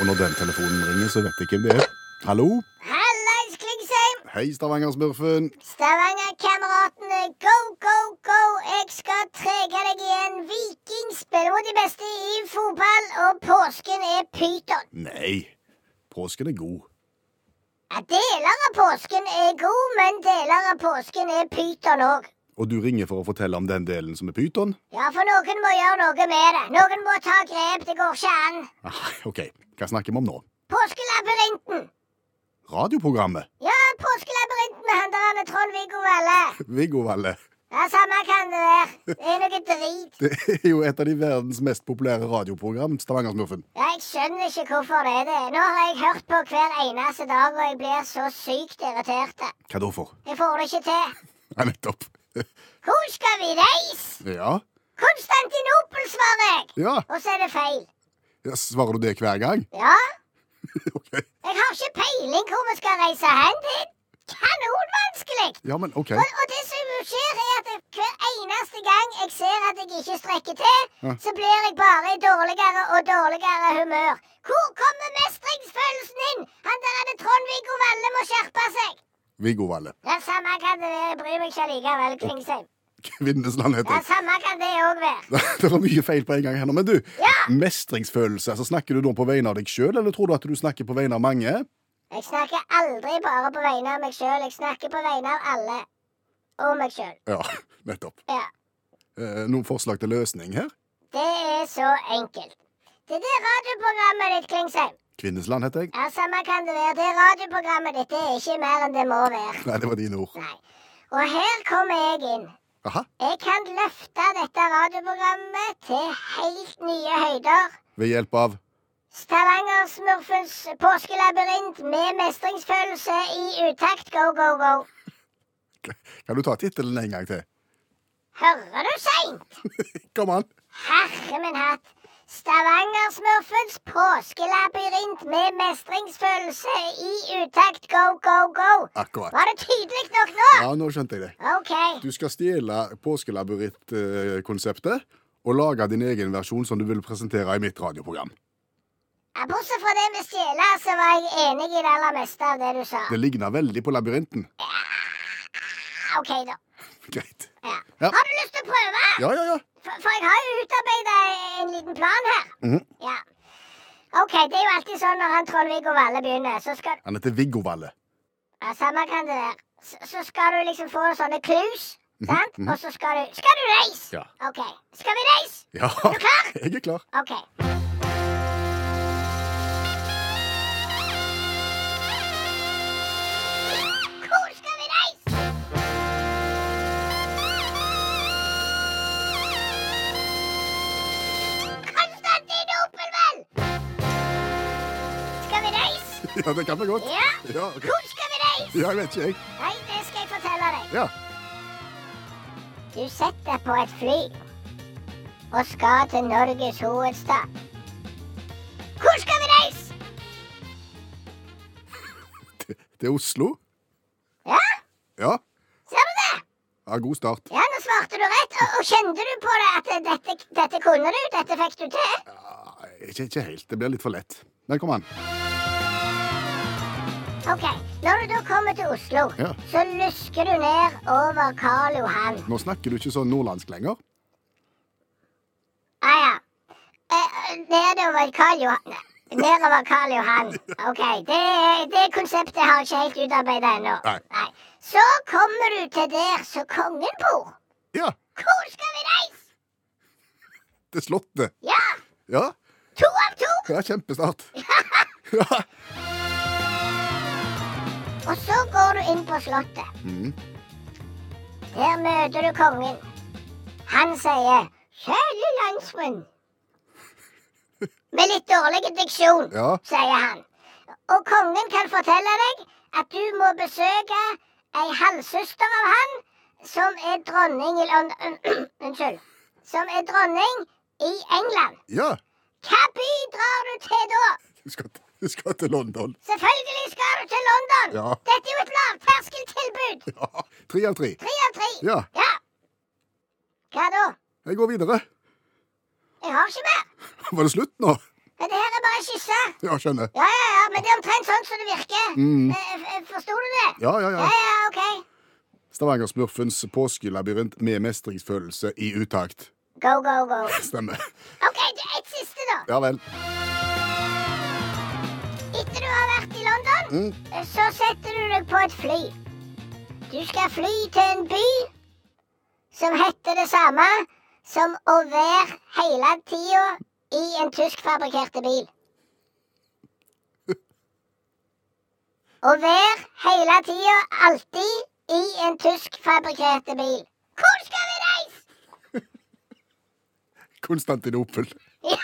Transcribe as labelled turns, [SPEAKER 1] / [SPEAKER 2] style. [SPEAKER 1] Og når den telefonen ringer, så vet jeg hvem det er. Hallo?
[SPEAKER 2] Hallais, Klingsheim!
[SPEAKER 1] Hei, Stavanger-smurfen.
[SPEAKER 2] Stavanger-kameratene, go, go, go! Jeg skal trege deg igjen. Viking spiller mot de beste i fotball, og påsken er pyton.
[SPEAKER 1] Nei, påsken er god.
[SPEAKER 2] Ja, deler av påsken er god, men deler av påsken er pyton òg.
[SPEAKER 1] Og du ringer for å fortelle om den delen som er pyton?
[SPEAKER 2] Ja, for noen må gjøre noe med det. Noen må ta grep. Det går ikke an.
[SPEAKER 1] Nei, ok. Hva snakker vi om nå?
[SPEAKER 2] Påskelabyrinten.
[SPEAKER 1] Radioprogrammet.
[SPEAKER 2] Ja, Påskelabyrinten med han der han er Trond-Viggo Valle.
[SPEAKER 1] Viggo Valle.
[SPEAKER 2] Ja, samme kan det være. Det er noe drit.
[SPEAKER 1] Det er jo et av de verdens mest populære radioprogram, Stavanger-smurfen.
[SPEAKER 2] Ja, jeg skjønner ikke hvorfor det er det. Nå har jeg hørt på hver eneste dag, og jeg blir så sykt irritert.
[SPEAKER 1] Hva da for?
[SPEAKER 2] Jeg får det ikke til.
[SPEAKER 1] Ja, nettopp.
[SPEAKER 2] Hvor skal vi reise?
[SPEAKER 1] Ja.
[SPEAKER 2] Konstantinopel, svarer jeg.
[SPEAKER 1] Ja,
[SPEAKER 2] Og så er det feil.
[SPEAKER 1] ja svarer du det hver gang?
[SPEAKER 2] Ja,
[SPEAKER 1] ok.
[SPEAKER 2] jeg har ikke peiling hvor vi skal reise hen. Det er kanonvanskelig.
[SPEAKER 1] Ja, men ok.
[SPEAKER 2] Og, og det som skjer, er at hver eneste gang jeg ser at jeg ikke strekker til,
[SPEAKER 1] Ja.
[SPEAKER 2] så blir jeg bare i dårligere og dårligere humør. Hvor kommer mestringsfølelsen inn? Han der er det Trond-Viggo Valle må skjerpe seg.
[SPEAKER 1] Viggo Valle.
[SPEAKER 2] Ja, samme kan det være. Jeg bryr meg ikke likevel, Klingsheim.
[SPEAKER 1] Kvindesland heter
[SPEAKER 2] Ja,
[SPEAKER 1] jeg.
[SPEAKER 2] samme kan det òg være.
[SPEAKER 1] Det var mye feil på en gang her nå, men du.
[SPEAKER 2] Ja.
[SPEAKER 1] Mestringsfølelse. altså Snakker du da på vegne av deg sjøl, eller tror du at du snakker på vegne av mange?
[SPEAKER 2] Jeg snakker aldri bare på vegne av meg sjøl. Jeg snakker på vegne av alle. Og meg sjøl.
[SPEAKER 1] Ja, nettopp.
[SPEAKER 2] Ja.
[SPEAKER 1] Eh, noen forslag til løsning her?
[SPEAKER 2] Det er så enkelt. Det der radioprogrammet ditt, Klingsheim.
[SPEAKER 1] Kvinnesland heter jeg.
[SPEAKER 2] Ja, samme kan det være. Det radioprogrammet ditt det er ikke mer enn det må være.
[SPEAKER 1] Nei, det var dine ord.
[SPEAKER 2] Nei. Og her kommer jeg inn.
[SPEAKER 1] Aha.
[SPEAKER 2] Jeg kan løfte dette radioprogrammet til helt nye høyder.
[SPEAKER 1] Ved hjelp av
[SPEAKER 2] Stavanger-smurfens påskelabyrint med mestringsfølelse i utakt. Go, go, go.
[SPEAKER 1] Kan du ta tittelen en gang til?
[SPEAKER 2] Hører du seint?
[SPEAKER 1] Kom an.
[SPEAKER 2] Herre min hatt. Stavanger-smurfens påskelabyrint med mestringsfølelse i utakt. Go, go, go.
[SPEAKER 1] Akkurat.
[SPEAKER 2] Var det tydelig nok nå?
[SPEAKER 1] Ja, nå skjønte jeg det.
[SPEAKER 2] OK.
[SPEAKER 1] Du skal stjele påskelabyrint-konseptet og lage din egen versjon som du vil presentere i mitt radioprogram.
[SPEAKER 2] Ja, Bortsett fra det med stjele, så var jeg enig i det aller meste av det du sa.
[SPEAKER 1] Det ligner veldig på labyrinten.
[SPEAKER 2] Ja, OK, da.
[SPEAKER 1] Greit.
[SPEAKER 2] Ja.
[SPEAKER 1] Ja.
[SPEAKER 2] Har du lyst til å prøve?
[SPEAKER 1] Ja, ja, ja.
[SPEAKER 2] For, for jeg har jo utarbeida en liten plan her.
[SPEAKER 1] Mhm.
[SPEAKER 2] Ja. OK, det er jo alltid sånn når han Trond-Viggo Valle begynner, så skal
[SPEAKER 1] Han heter Viggo Valle.
[SPEAKER 2] ja, Samme kan det være. Så, så skal du liksom få sånne clues, sant? Og så skal du Skal du reise?
[SPEAKER 1] Mhm, Ja.
[SPEAKER 2] OK. Skal vi reise?
[SPEAKER 1] Ja,
[SPEAKER 2] du klar?
[SPEAKER 1] jeg er klar.
[SPEAKER 2] OK. Hvor skal vi reise? Konstantinopel, vel! Skal vi reise?
[SPEAKER 1] Ja, det kan vi godt.
[SPEAKER 2] Ja.
[SPEAKER 1] Ja, ok.
[SPEAKER 2] Hvor skal vi reise?
[SPEAKER 1] ja jeg vet ikke, jeg.
[SPEAKER 2] Nei, det skal jeg fortelle deg.
[SPEAKER 1] Ja.
[SPEAKER 2] Du setter deg på et fly og skal til Norges hovedstad. Hvor skal vi reise?
[SPEAKER 1] Det, det er Oslo.
[SPEAKER 2] Ja,
[SPEAKER 1] Ja.
[SPEAKER 2] ser du det?
[SPEAKER 1] ja. God start.
[SPEAKER 2] Ja, nå svarte du rett. Og, og kjente du på det at dette, dette kunne du? Dette fikk du til?
[SPEAKER 1] Ja, Ah, ikke, ikke helt. Det blir litt for lett. Men kom an.
[SPEAKER 2] OK. Når du da kommer til Oslo,
[SPEAKER 1] Ja.
[SPEAKER 2] så lusker du ned over Karl Johan.
[SPEAKER 1] Nå snakker du ikke sånn nordlandsk lenger.
[SPEAKER 2] Ah, ja. Eh, nedover Karl Johan Nei, Nedover Karl Johan. OK. Det, det konseptet har jeg ikke helt utarbeida ennå.
[SPEAKER 1] Nei.
[SPEAKER 2] Så kommer du til der som kongen bor.
[SPEAKER 1] Ja.
[SPEAKER 2] Hvor skal vi reise?
[SPEAKER 1] Til Slottet.
[SPEAKER 2] Ja!
[SPEAKER 1] Ja.
[SPEAKER 2] To av to!
[SPEAKER 1] ja kjempestart. Ja.
[SPEAKER 2] Og så går du inn på Slottet.
[SPEAKER 1] Mm.
[SPEAKER 2] Der møter du kongen. Han sier 'Kjære landsmenn'. Med litt dårlig diksjon,
[SPEAKER 1] Ja.
[SPEAKER 2] sier han. Og kongen kan fortelle deg at du må besøke ei halvsøster av han som er dronning i London Unnskyld. Som er dronning i England.
[SPEAKER 1] ja.
[SPEAKER 2] Hva by drar du til da?
[SPEAKER 1] Du skal, til- du skal til London.
[SPEAKER 2] Selvfølgelig skal du til London!
[SPEAKER 1] Ja.
[SPEAKER 2] Dette er jo et lavterskeltilbud!
[SPEAKER 1] Ja. Tre av tre.
[SPEAKER 2] Tre av tre.
[SPEAKER 1] Ja.
[SPEAKER 2] ja. Hva da?
[SPEAKER 1] Jeg går videre.
[SPEAKER 2] Jeg har ikke mer.
[SPEAKER 1] Var det slutt nå?
[SPEAKER 2] Men det her er bare bare skisse.
[SPEAKER 1] Ja, skjønner.
[SPEAKER 2] Ja, ja, ja, men det er omtrent sånn som det virker.
[SPEAKER 1] Mm.
[SPEAKER 2] Eh, f- eh, Forsto du det?
[SPEAKER 1] Ja, ja,
[SPEAKER 2] Ja,
[SPEAKER 1] ja.
[SPEAKER 2] ja, OK.
[SPEAKER 1] Stavanger-smurfens påskelabyrint med mestringsfølelse i utakt.
[SPEAKER 2] Go, go, go.
[SPEAKER 1] Stemmer.
[SPEAKER 2] OK, det er et siste, da.
[SPEAKER 1] Ja vel.
[SPEAKER 2] Etter du har vært i London,
[SPEAKER 1] Mm.
[SPEAKER 2] eh, så setter du deg på et fly. Du skal fly til en by som heter det samme som å være hele tida i en tyskfabrikkerte bil. Å være hele tida, alltid, i en tyskfabrikkerte bil. Hvor skal vi reise?
[SPEAKER 1] Konstantinopel.
[SPEAKER 2] Ja,